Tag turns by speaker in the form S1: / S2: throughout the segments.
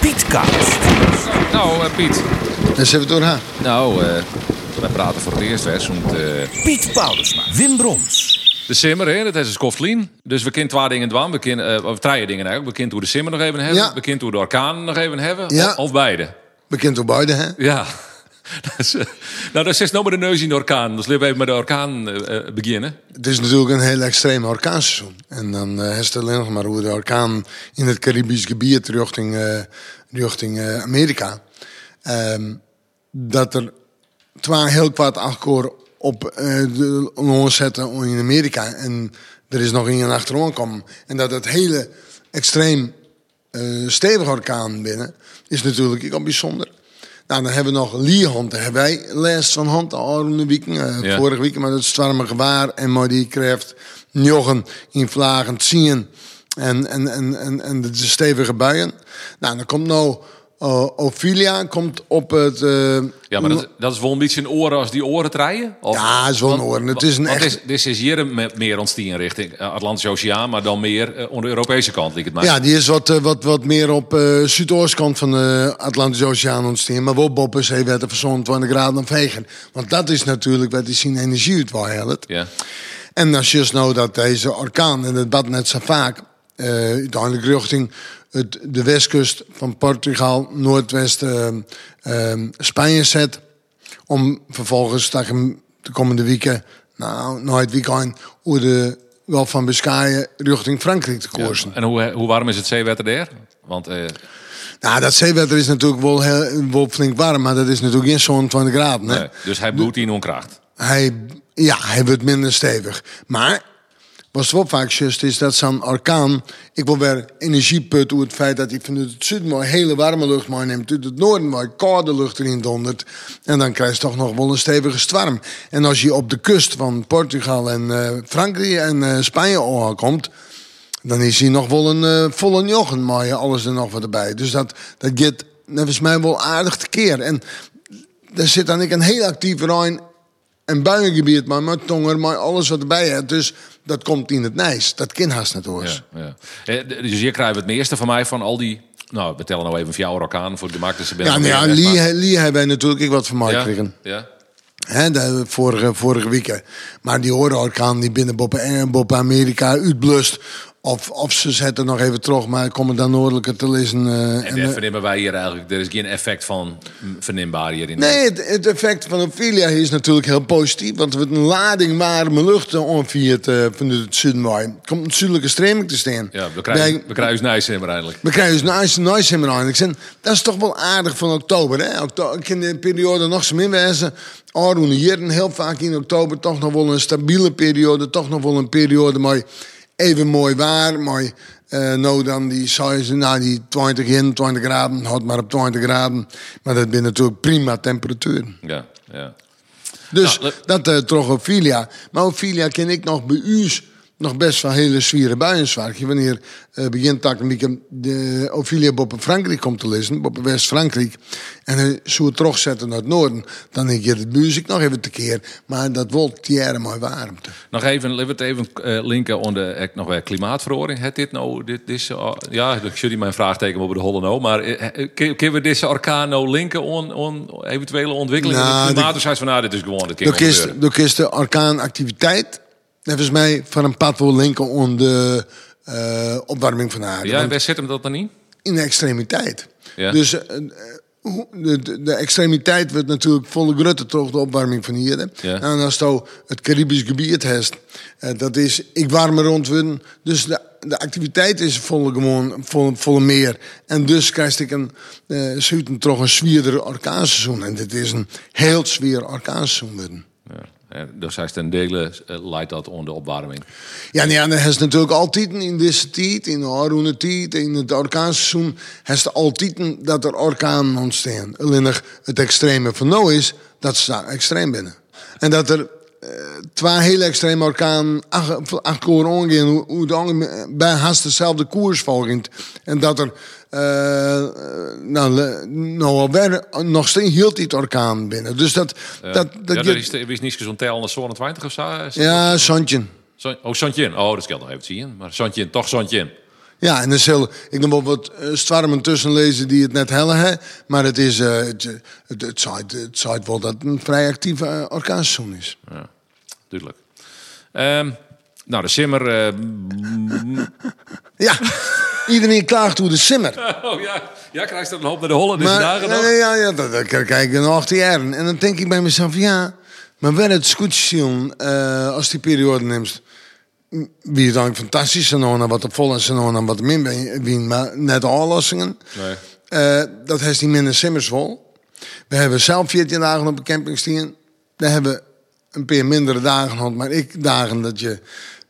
S1: podcast.
S2: Nou, eh, Piet.
S3: Dan zijn we doorheen.
S2: Nou, eh, wij praten voor het eerst hè, zo'n, eh,
S1: Piet Paulusma, Wim Brons,
S2: de simmer, hè, dat is een skoftlien. Dus we kunnen twee dingen doen. We kunnen, eh, of drie dingen eigenlijk. We kunnen hoe de simmer nog even hebben.
S3: Ja.
S2: We kunnen hoe de orkaan nog even hebben.
S3: Ja.
S2: Of, of beide.
S3: Bekend door beide, hè?
S2: Ja. Dat is, eh, nou, dat is nou maar de neus in de orkaan. Dus laten we even met de orkaan eh, eh, beginnen.
S3: Het is natuurlijk een heel extreem orkaanseizoen. En dan eh is het alleen nog maar hoe de orkaan in het Caribisch gebied richting, eh, richting eh, Amerika. Ehm, dat er twee heel kwaad akkoord op eh de ons zetten in Amerika. En er is nog een achteraan komen. En dat het hele extreem eh stevige orkaan binnen is natuurlijk ook bijzonder. Nou, dan hebben we nog Lihand. Daar hebben wij les van hand al in de week. eh,
S2: Ja.
S3: Vorige week, maar dat zwarme gewaar. En maar die krijgt njoggen in vlagen zien. En, en, en, en, en de stevige buien. Nou, dan komt nou... eh, Ophelia komt op het... eh,
S2: Ja, maar dat, dat is wel een beetje een oren als die oren treien. Of,
S3: Ja, het is wel een oren. Het is een
S2: want
S3: echt-
S2: dit is- dit is hier me- meer ons tien richting eh, Atlantische Oceaan, maar dan meer eh, aan de Europese kant, lijkt het mij.
S3: Ja, die is wat, eh, wat, wat meer op eh zuidoostkant van de Atlantische Oceaan ontstaan. Maar wel boppen zeewetten van zo'n 20 graden en vegen. Want dat is natuurlijk wat die zien energie uit wel helpt.
S2: Ja.
S3: En dan zie je nou dat deze orkaan, en dat bad net zo vaak, eh, uiteindelijk richting het, de westkust van Portugal, noordwesten, eh, eh, Spanje zet. Om vervolgens dat hem de komende weken, nou, na het weekend, hoe de Golf van Biscayen richting Frankrijk te koersen.
S2: En hoe, hoe warm is het zeewetter daar? Want eh,
S3: Nou, dat zeewetter is natuurlijk wel, heel, wel flink warm, maar dat is natuurlijk geen zo'n 20 graden. Hè?
S2: nee, dus hij bloedt in onkracht.
S3: Hij, ja, hij wordt minder stevig. Maar wat wel vaak just is dat zo'n orkaan, ik wil weer energie putten uit het feit dat hij vanuit het zuiden maar hele warme lucht maar neemt, uit het noorden maar koude lucht erin dondert. En dan krijg je toch nog wel een stevige storm. En als je op de kust van Portugal en eh, Frankrijk en eh, Spanje komt, dan is hij nog wel een eh, volle jochen, maar je alles er nog wat erbij. Dus dat, dat gaat, volgens mij, wel aardig tekeer. En daar zit dan ik een heel actief Rijn en buiengebied, maar met tonger, maar alles wat erbij hebt. Dus dat komt in het nijs. Dat kan haast net hoor.
S2: Ja, ja. Eh, d- Dus hier krijgen we het meeste van mij van al die... Nou, we tellen nou even jouw orkaan voor de markt. Dus ze
S3: Ja, nou ja, Lee, he- Lee hebben wij natuurlijk ook wat van mij
S2: ja,
S3: gekregen.
S2: ja.
S3: Hè, de vorige, vorige weken. Maar die orkaan die binnen Boppen en Boppen Amerika uitblust. Of, of ze zetten nog even terug, maar komen dan noordelijker te lezen. eh, en,
S2: En
S3: eh,
S2: dat vernemen wij hier eigenlijk. Er is geen effect van mm, vernimbaar hier in
S3: Nee, het, het effect van Ophelia is natuurlijk heel positief. Want we een lading warme lucht omviert eh van het Zuidmooi. Er komt een zuidelijke stroming te staan.
S2: Ja, we krijgen,
S3: Bij-
S2: we krijgen een ijs in uiteindelijk.
S3: We krijgen dus nice, nice in aan. Ik zeg, dat is toch wel aardig van oktober, hè? Oktober, ik in de periode nog zo min wijzen. Arun Jeren, heel vaak in oktober toch nog wel een stabiele periode. Toch nog wel een periode, maar even mooi waar. Maar eh nou dan die size, nou die 20 in, 20 graden. Houd maar op 20 graden. Maar dat zijn natuurlijk prima temperaturen.
S2: Ja, ja.
S3: Dus
S2: Nou, le-
S3: dat eh trog Ophelia. Maar Ophelia ken ik nog bij u's nog best wel hele zwieren buien zwaartje. Wanneer eh, begint dat een beetje de Ophelia boven Frankrijk komt te lezen, boven West-Frankrijk. En hij zou het terugzetten naar het noorden. Dan denk je, dat muziek nog even tekeer. Maar dat wordt tiere mooi warmte.
S2: Nog even, laten we het even eh, linken aan de eh, nog weer klimaatverandering. Het dit nou, dit, dit, ja, ik zie mijn vraagteken over de holle nou, maar eh, eh, kun- kunnen we deze orkaan nou linken aan, aan eventuele ontwikkelingen in
S3: Nou,
S2: het klimaat?
S3: die-
S2: Dus hij is van, nou, dit is gewoon, dit kan
S3: Door is,
S2: gebeuren.
S3: door is de orkaanactiviteit, volgens mij, van een pad wil linken om de eh, opwarming van de aarde.
S2: Ja,
S3: Want-
S2: en waar zit hem dat dan niet?
S3: in de extremiteit.
S2: Ja.
S3: Dus eh, eh, hoe- de, de, de extremiteit wordt natuurlijk volle grutte toch de opwarming van hier. hè. Nou,
S2: Ja.
S3: En als je het Caribisch gebied hebt, eh, dat is ik warmer rond worden. Dus de, de activiteit is volle gewoon volle, volle meer. En dus krijg ik een eh zuiden toch een zwierder orkaanseizoen. En dit is een heel zwier orkaanseizoen worden.
S2: Ja. Eh, Dus hij is ten dele eh, leidt dat onder opwarming.
S3: Ja, nee, en dan is natuurlijk altijd in deze tijd, in de harde tijd, in het orkaanseizoen, is er altijd dat er orkanen ontstaan. Alleen nog het extreme van nou is dat ze daar extreem binnen. En dat er eh, twee hele extreme orkanen ach- achter elkaar omgaan, hoe- hoe dan bij haast dezelfde koers volgend. En dat er eh, nou, le- nou alweer, nog steeds hield die orkaan binnen. Dus dat...
S2: Eh,
S3: dat, dat
S2: ja,
S3: je-
S2: dat is, er is niet zo'n tel aan de 20 of zo. eh,
S3: ja, Santje.
S2: San- Oh, Santjin. Oh, dat geldt nog even zien. Maar Santjin, toch Santjin.
S3: Ja, en er zullen, ik nog wel wat eh, zwarmen tussen lezen die het net hellen, hè? maar het is, eh, het, het, het, zaait, het zaait wel dat het een vrij actief eh, orkaanseizoen is.
S2: Ja, duidelijk. Ehm, nou, de simmer... eh, mm,
S3: Ja, iedereen klaagt hoe de simmer.
S2: oh ja, ja krijgt dat een hoop naar de hollen deze
S3: Maar,
S2: dagen nog.
S3: nee, ja, ja, dat, dat kijk ik in 18 jaar. En dan denk ik bij mezelf, ja, maar wel het scootsion eh als die periode neemt. Wie het dan fantastisch zijn, dan wat er vol is en dan wat er min bij- wie, maar net oplossingen.
S2: Nee.
S3: Eh, dat heeft die minder simmers vol. We hebben zelf 14 dagen op een campingstien. Daar hebben we een paar mindere dagen gehad. Maar ik dagen dat je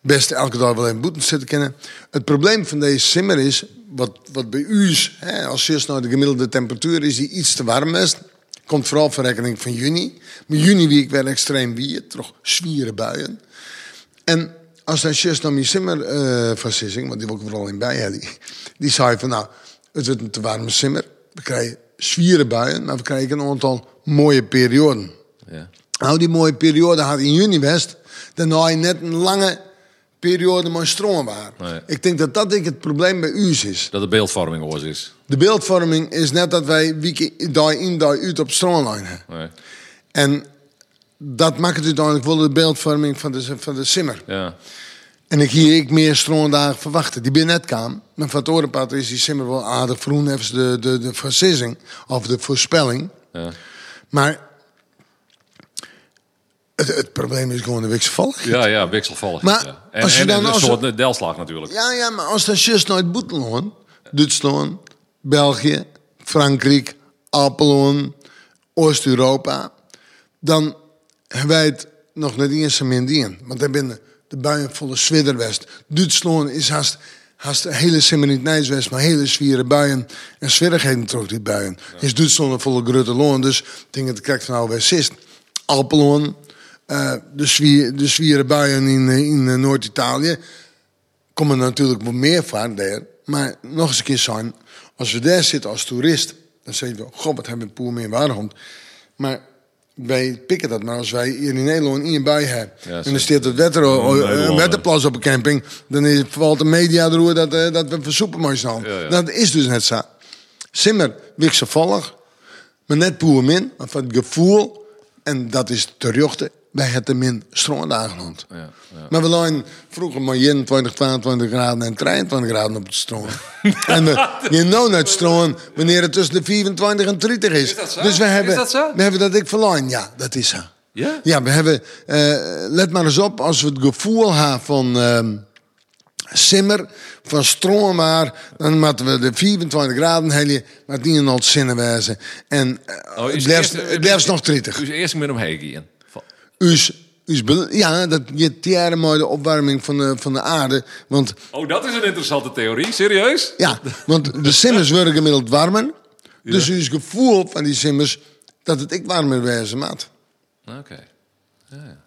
S3: best elke dag wel in boeten zitten kennen. Het probleem van deze simmer is, wat, wat bij u is, hè, als eerst nou de gemiddelde temperatuur is die iets te warm is. Komt vooral voor rekening van juni. Maar juni wie ik wel extreem weer, toch zwieren buien. En als dan Sjus dan die simmer eh, van Sissing, want die wil ik er vooral in bij, hè, die, die zei van nou, het wordt een te warme simmer. We krijgen zwieren buien, maar we krijgen een aantal mooie perioden.
S2: Ja.
S3: Nou, die mooie periode had in juni best, dan had je net een lange periode maar stromen waar.
S2: Nee.
S3: Ik denk dat dat denk ik het probleem bij u is.
S2: Dat de beeldvorming oors is.
S3: De beeldvorming is net dat wij week dag in dag uit op stroomlijn hebben.
S2: Nee.
S3: En dat maakt het uiteindelijk wel de beeldvorming van de, van de simmer.
S2: Ja.
S3: En ik hier ik meer stroondagen verwachten. Die ben net kwam. Maar van het orenpad is die simmer wel aardig vroeg. Even de, de, de verzissing. Of de voorspelling.
S2: Ja.
S3: Maar het, het probleem is gewoon de weekse vallig.
S2: Ja, ja, wisselvallig.
S3: Maar
S2: ja. En,
S3: als je
S2: en-
S3: dan
S2: en een
S3: als-
S2: soort eh, delslag natuurlijk.
S3: Ja, ja, maar als dat just nooit Boeteloon, Duitsland, België, Frankrijk, Apeldoorn, Oost-Europa, dan hebben wij het nog net eens een min dien. Want daar binnen de buien volle Zwitserwest. Duitsland is haast, haast de hele Simmerit-Nijswest, maar hele zwiere buien en zwierigheden trok die buien. Dus Duitsland een volle grote loon, dus dingen te krijgt van oude west Apeldoorn, eh, de, zwier, de zwiere buien in, eh, in eh, Noord-Italië komen er natuurlijk wat meer van daar. Maar nog eens een keer zijn, als we daar zitten als toerist, dan zeg je wel, god, wat hebben we poer meer waarom? Maar wij pikken dat maar als wij hier in Nederland in een bui hebben. en
S2: zeker.
S3: dan staat het wetter,
S2: Nederland,
S3: een
S2: ja.
S3: wetterplas op een camping, dan is, valt de media erover dat, eh, dat we versoepen maar staan.
S2: Ja, ja.
S3: Dat is dus net zo. Simmer, wikselvallig, maar net poer min, maar van het gevoel, en dat is terjochte, wij hebben min stroomdagen hand.
S2: Ja, ja.
S3: Maar we lagen vroeger maar 21, 22 graden en 23 graden op het stroom. en we je nou naar het stroom wanneer het tussen de 24 en 30 is.
S2: Is dat zo?
S3: Dus we
S2: Is
S3: hebben
S2: dat zo?
S3: We hebben dat ik verloren. Ja, dat is zo.
S2: Ja?
S3: Ja, we hebben... eh, let maar eens op, als we het gevoel hebben van... ehm, Simmer van stroom maar, dan moeten we de 24 graden helje, maar die in ons zinnen wijzen. En eh,
S2: Oh, is
S3: het
S2: het
S3: blijft-
S2: eerst-
S3: het blijft nog 30.
S2: Dus eerst met omheen gaan. Van-
S3: Us, us bel- ja, dat je tiare mooi de opwarming van de, van de aarde. Want,
S2: Oh, dat is een interessante theorie. Serieus?
S3: ja, want de simmers worden gemiddeld warmer. Dus us gevoel van die simmers dat het ik warmer wezen maat.
S2: Oké. Ja, ja.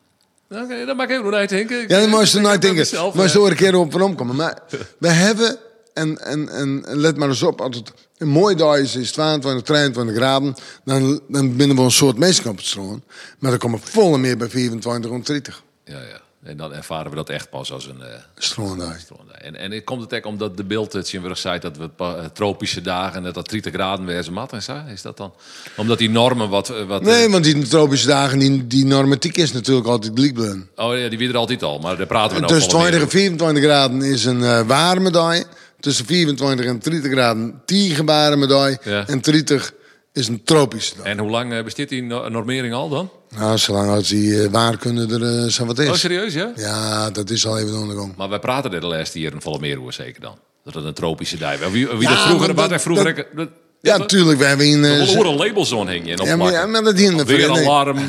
S2: Oké, dat maak ik even nooit denken. Ik-
S3: Ja, dan
S2: ik-
S3: moest je
S2: ik-
S3: nooit
S2: ik ben
S3: denken.
S2: mezelf,
S3: moest
S2: eh,
S3: je er een keer op en omkomen. Maar we hebben, en, en, en let maar eens op, als het een mooi dag is, is 22, 23 graden, dan, dan binnen we een soort mensen op het stroom. Maar dan komen we volle meer bij 24 en 30
S2: Ja, ja. En dan ervaren we dat echt pas als een... eh,
S3: stroomdagen.
S2: En, en ik komt het ook omdat de beeld het zinwillig zei dat we pa- eh, tropische dagen dat dat 30 graden weer zijn mat en zo. Is dat dan? Omdat die normen wat... eh, wat eh,
S3: Nee, want die tropische dagen, die, die normatiek is natuurlijk altijd bliekblen.
S2: Oh ja, die wie er altijd al, maar daar praten we nou
S3: Tussen
S2: volle
S3: 20 en
S2: meer
S3: 24 graden is een eh, warme dag. Tussen 24 en 30 graden een warme dag.
S2: Ja.
S3: En 30 is een tropische
S2: over.
S3: dag.
S2: En hoe lang eh, bestaat die no- normering al dan?
S3: Nou, zolang als die eh waar kunnen er eh, zo wat
S2: Oh,
S3: is.
S2: serieus, ja?
S3: Ja, dat is al even de ondergang.
S2: Maar wij praten er de laatste hier een volle meerhoer zeker dan. Dat het een tropische dij was. Wie, wie
S3: Ja,
S2: dat vroeger,
S3: maar
S2: wat
S3: dat-
S2: er vroeger...
S3: dat-
S2: ik- dat-
S3: Ja,
S2: dat-
S3: natuurlijk. We hebben in... eh,
S2: Een
S3: ze-
S2: oren labels on hing je en
S3: ja, maar, ja,
S2: opplakken.
S3: maar dat hier in de
S2: Weer
S3: nee.
S2: alarm,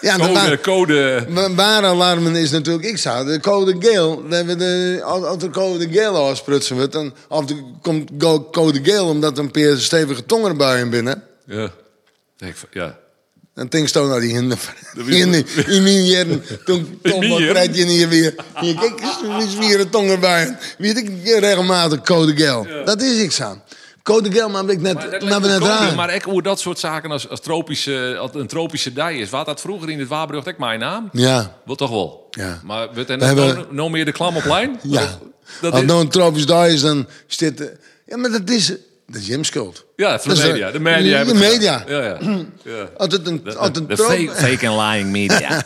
S3: Ja, dat
S2: code,
S3: waar-
S2: code.
S3: wa- Waar alarmen is natuurlijk, ik zou de code geel, dan hebben we de, als als de code geel afsprutsen wordt, dan of de, komt go- code geel omdat er een paar stevige tongenbuien binnen.
S2: Ja. Ik v- ja.
S3: Dan denk je naar die hinder.
S2: is-
S3: In, in mijn jaren, toen
S2: In
S3: Tom
S2: mijn
S3: wat
S2: jaren?
S3: krijg je hier weer. Je kijkt eens weer een tong erbij. Weet ik regelmatig code gel. Dat is ik zo. Code gel, maar ik
S2: Maar
S3: net,
S2: dat
S3: Nou, maar
S2: lijkt
S3: we
S2: me
S3: net
S2: code,
S3: raar.
S2: Maar ik hoor dat soort zaken als, als tropische, als een tropische dij is. Wat dat vroeger in het Waarbrug, ik mijn naam.
S3: Ja,
S2: Wat toch wel?
S3: Ja.
S2: Maar we
S3: We
S2: hebben
S3: hebben-
S2: no, no meer de klam op lijn?
S3: Ja.
S2: Dat
S3: Als
S2: is-
S3: nou een tropisch daar is, dan is dit... eh, Ja, maar dat is... Dat is Jim's schuld.
S2: Ja, voor
S3: Dat
S2: de
S3: is
S2: media. De media.
S3: De,
S2: hebben het
S3: media.
S2: gedaan. Ja, ja. ja.
S3: Als het een, als het een
S4: De
S3: trop-
S4: fake, fake and lying media.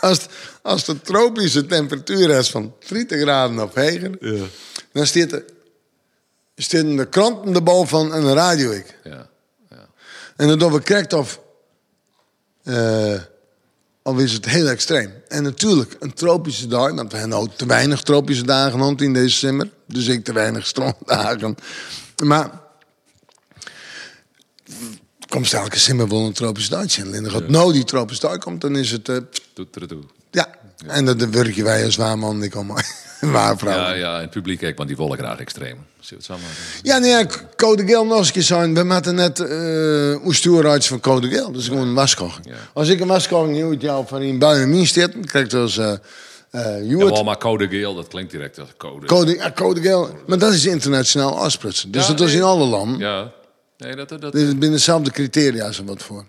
S3: als, het- als de tropische temperatuur is van 30 graden of hoger, dan staat er, staan de kranten de bal van en de radio ik.
S2: ja.
S3: En dan doen we correct of. eh, al is het heel extreem. En natuurlijk, een tropische dag. Want we hebben ook te weinig tropische dagen rond in december. Dus ik te weinig stroomdagen. Maar. Komt elke simmer wel een tropische dag zijn. En als nou die tropische dag komt, dan is het. eh,
S2: Doet er toe.
S3: ja. En dat werken wij als waarman. Ik allemaal. Waarvrouw.
S2: Ja, ja, en het publiek kijkt, want die wollen graag extreem. Zullen we het samen doen?
S3: Ja, nee, ja, K- Code Geel nog eens keer zijn. We maten net eh, oestuurhuis van Code Geel. Dus gewoon een waskoching.
S2: Ja.
S3: Als ik een waskoching nieuw het jou van in buiten min zit, dan krijg ik dus eh eh Joert.
S2: Jawel, maar code geel, dat klinkt direct als code.
S3: Code, ja, Code Geel. Maar dat is internationaal afsprutsen. Dus
S2: Ja,
S3: dat is
S2: nee.
S3: in alle landen.
S2: Ja. Nee, dat, dat,
S3: Dit is binnen dezelfde criteria zo wat voor.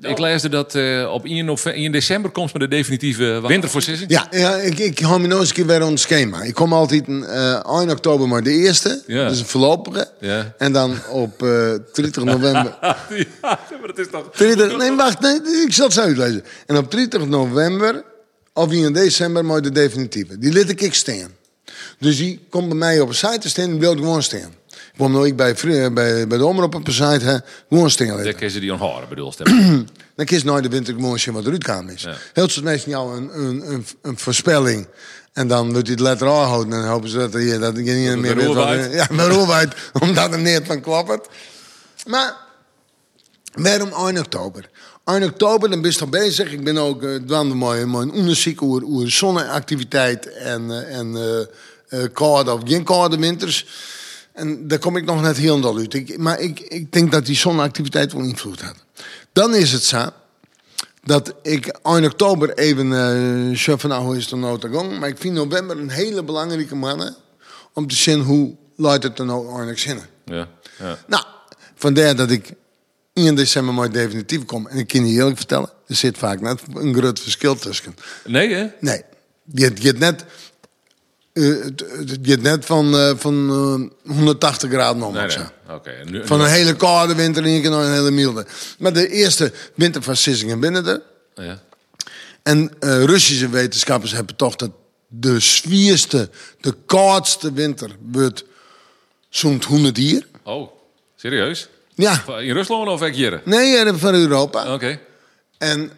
S2: Ik leesde dat eh, op 1, nove- 1 december komt met de definitieve wintervoorzittering.
S3: Ja, ja ik, ik hou me nou eens een keer weer aan het schema. Ik kom altijd een, eh 1 oktober maar de eerste.
S2: Ja.
S3: Dus een voorlopige.
S2: Ja.
S3: En dan op eh 30 november...
S2: maar dat is toch...
S3: 30, nee, wacht, nee, ik zal het zo uitlezen. En op 30 november, of in december, maar de definitieve. Die liet ik ik staan. Dus die komt bij mij op een site te staan, die wil ik gewoon staan. Ik kwam nooit bij, vri- bij, bij de omroep op een site, hè, gewoon staan
S2: Daar
S3: laten.
S2: kun je ze die onhoren, bedoel stemmen.
S3: Dan kies nooit de winter gewoon zien wat eruit kwam is. Heel veel mensen jou een, een, een, een voorspelling. En dan wordt hij het letter A houden. En dan hopen ze dat, er, dat je niet meer weet wat...
S2: roerwaait.
S3: Ja, maar roerwaait, omdat er niet van klappert. Maar waarom 1 oktober? 1 oktober, dan ben je toch bezig. Ik ben ook eh dwanden mooi, mooi onderzoek over, over zonneactiviteit en, eh, en eh, eh, koude of geen koude winters. En daar kom ik nog net heel dol uit. Ik, maar ik, ik denk dat die zonneactiviteit wel invloed had. Dan is het zo dat ik 1 oktober even eh chef van nou is de nota gong. Maar ik vind november een hele belangrijke maand om te zien hoe luidt het er nou aan zinnen.
S2: ja, ja.
S3: Nou, vandaar dat ik in december maar definitief kom. En ik kan je eerlijk vertellen, er zit vaak net een groot verschil tussen.
S2: Nee, hè?
S3: Nee, je hebt- je hebt net, eh, het- het- je hebt net van, eh, van eh, 180 graden om.
S2: Nee,
S3: of
S2: nee.
S3: zo.
S2: Oké. en nu-
S3: Van
S2: nu-
S3: een hele koude winter in één keer naar een hele milde. Maar de eerste winter van Sissingen binnen er.
S2: Ja.
S3: En eh, Russische wetenschappers hebben toch dat de zwierste, de koudste winter wordt zo'n 100 hier.
S2: Oh, serieus?
S3: Ja,
S2: In Rusland of ik hier? Oké.
S3: nee, eh, van Europa. En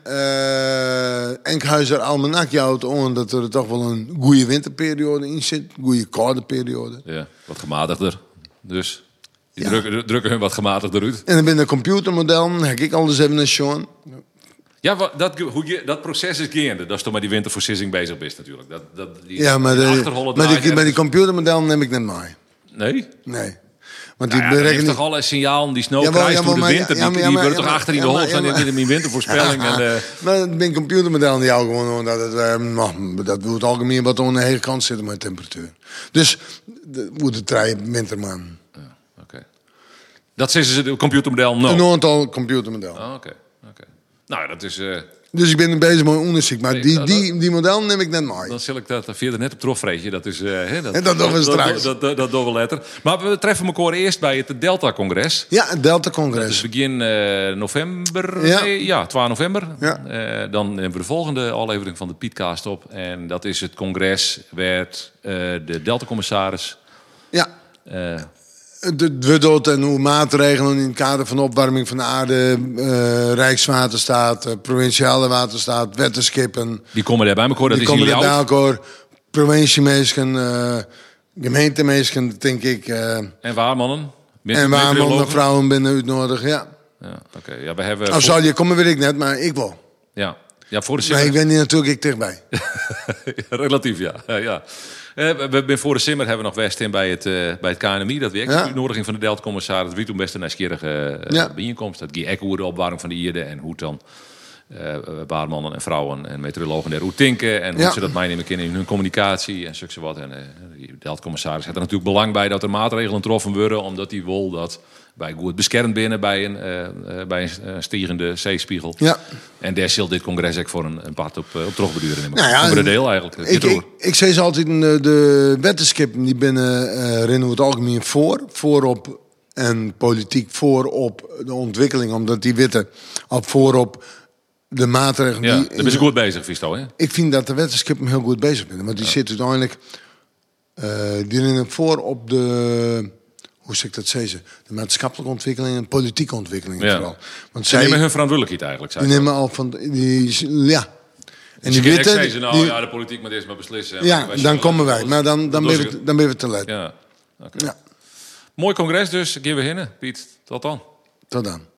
S3: eh Enkhuizer Almanak houdt aan dat er toch wel een goede winterperiode in zit. Een goede koude periode.
S2: Ja, wat gematigder. Dus die drukken, drukken hun wat gematigder uit.
S3: En dan ben de computermodellen, heb ik al eens even naar Sean.
S2: Ja, wa- dat, ge- hoe je, dat proces is gaande. Dat is toch maar die winterversissing bezig is natuurlijk. Dat, dat, die,
S3: Ja, maar,
S2: die
S3: de,
S2: achterholle
S3: maar, die,
S2: draait
S3: maar die
S2: ergens-
S3: computermodellen neem ik net mee.
S2: Nee?
S3: Nee. Want die
S2: Nou ja, dat
S3: berekenen
S2: heeft
S3: niet-
S2: toch alle signalen die snow
S3: Jawel,
S2: krijgt
S3: jawel,
S2: door de
S3: maar-
S2: winter.
S3: ja, maar-
S2: die
S3: ja,
S2: die
S3: maar-
S2: wordt toch
S3: ja, maar-
S2: achter in de
S3: ja, maar-
S2: hol van
S3: ja, maar-
S2: in mijn wintervoorspelling. en, eh,
S3: Maar het ben computermodel die jou gewoon hoor, dat het, eh, nou, dat doet het algemeen wat aan de hele kant zitten met temperatuur. Dus de- moet het draaien winterman.
S2: oké. Dat is ze het computermodel no.
S3: Een aantal computermodellen.
S2: Ah, Oké, oké. Nou, dat is... eh,
S3: Dus ik ben bezig met onderzoek. Maar
S2: Nee,
S3: die,
S2: dat-
S3: die, die model neem ik net mee.
S2: Dan zal ik dat verder net op terug, Freetje. Dat is... eh, hè,
S3: En dat doen we straks.
S2: Dat, dat, dat, dat doen we later. Maar we treffen elkaar eerst bij het Delta-congres.
S3: Ja, het
S2: Dus
S3: Delta-congres.
S2: begin eh, november.
S3: Ja.
S2: Nee, ja, 12 november.
S3: Ja.
S2: Eh, dan hebben we de volgende aflevering van de Pietcast op. En dat is het congres werd eh, de Delta-commissaris.
S3: Ja.
S2: eh,
S3: De Dwuddelt en hoe maatregelen in het kader van opwarming van de aarde, eh, Rijkswaterstaat, eh, provinciale waterstaat, wetenschappen.
S2: die komen daarbij elkaar. Dat
S3: die
S2: is in
S3: komen er bij
S2: Ljouwert.
S3: elkaar. Provinciemeesken, eh gemeentemeesken, denk ik. eh,
S2: En waarmannen. Met-
S3: en
S2: met
S3: waar mannen
S2: virologen.
S3: en vrouwen binnen uitnodigen. Ja.
S2: Ja, oké. Ja, we hebben...
S3: Als
S2: voor-
S3: zal je komen, weet ik net, maar ik wel.
S2: ja. ja, voor de
S3: Maar
S2: zomer-
S3: ik ben hier natuurlijk ik dichtbij.
S2: Relatief, ja. ja, ja. Eh, we- we hebben voor de Simmer hebben we nog West in bij het, eh, bij het KNMI. Dat werkt.
S3: Ja.
S2: De uitnodiging van de Deltcommissaris. Wie toen best een nieuwsgierige eh,
S3: Ja.
S2: bijeenkomst. Dat ging ook over de opwarming van de Ierden en hoe het dan eh, baarmannen en vrouwen en meteorologen daar hoe tinken en hoe
S3: Ja.
S2: ze dat meenemen kunnen in hun communicatie en zulke wat. En eh, de heldcommissaris heeft er natuurlijk belang bij dat er maatregelen getroffen worden, omdat die wol dat bij goed beschermd binnen bij een, eh, eh, bij een eh, stijgende zeespiegel.
S3: Ja.
S2: En daar zal dit congres ook voor een, een part op, eh, op terugbeduren. neem ik
S3: Nou
S2: aan.
S3: ja,
S2: Voor een deel eigenlijk. eh,
S3: Ik,
S2: dit
S3: ik,
S2: hoor.
S3: ik zei ze altijd, eh, de wetenschap die binnen eh rennen we het algemeen voor. Voorop en politiek voorop de ontwikkeling. Omdat die witte al voorop de maatregelen...
S2: ja,
S3: die-
S2: daar ben je goed bezig, Visto. Hè?
S3: Ik vind dat de wetenschap hem heel goed bezig bent. Want die zit uiteindelijk... eh die rennen voor op de... Hoe zeg ik dat zeggen? De maatschappelijke ontwikkeling en politieke ontwikkeling
S2: Ja.
S3: vooral. Want
S2: Ze
S3: zij
S2: nemen hun verantwoordelijkheid eigenlijk. zei
S3: die
S2: ze.
S3: nemen al van... Die, ja. En
S2: Ze
S3: die
S2: kunnen
S3: witte...
S2: echt zeggen, nou
S3: die-
S2: ja, de politiek moet eerst maar beslissen. En
S3: ja,
S2: wij
S3: dan
S2: zullen-
S3: komen wij. Maar dan, dan,
S2: Dat
S3: ben,
S2: doe
S3: we,
S2: ik-
S3: dan ben we te laat.
S2: Ja. Oké.
S3: Ja.
S2: Mooi congres dus. Geven we hinnen, Piet. Tot dan.
S3: Tot dan.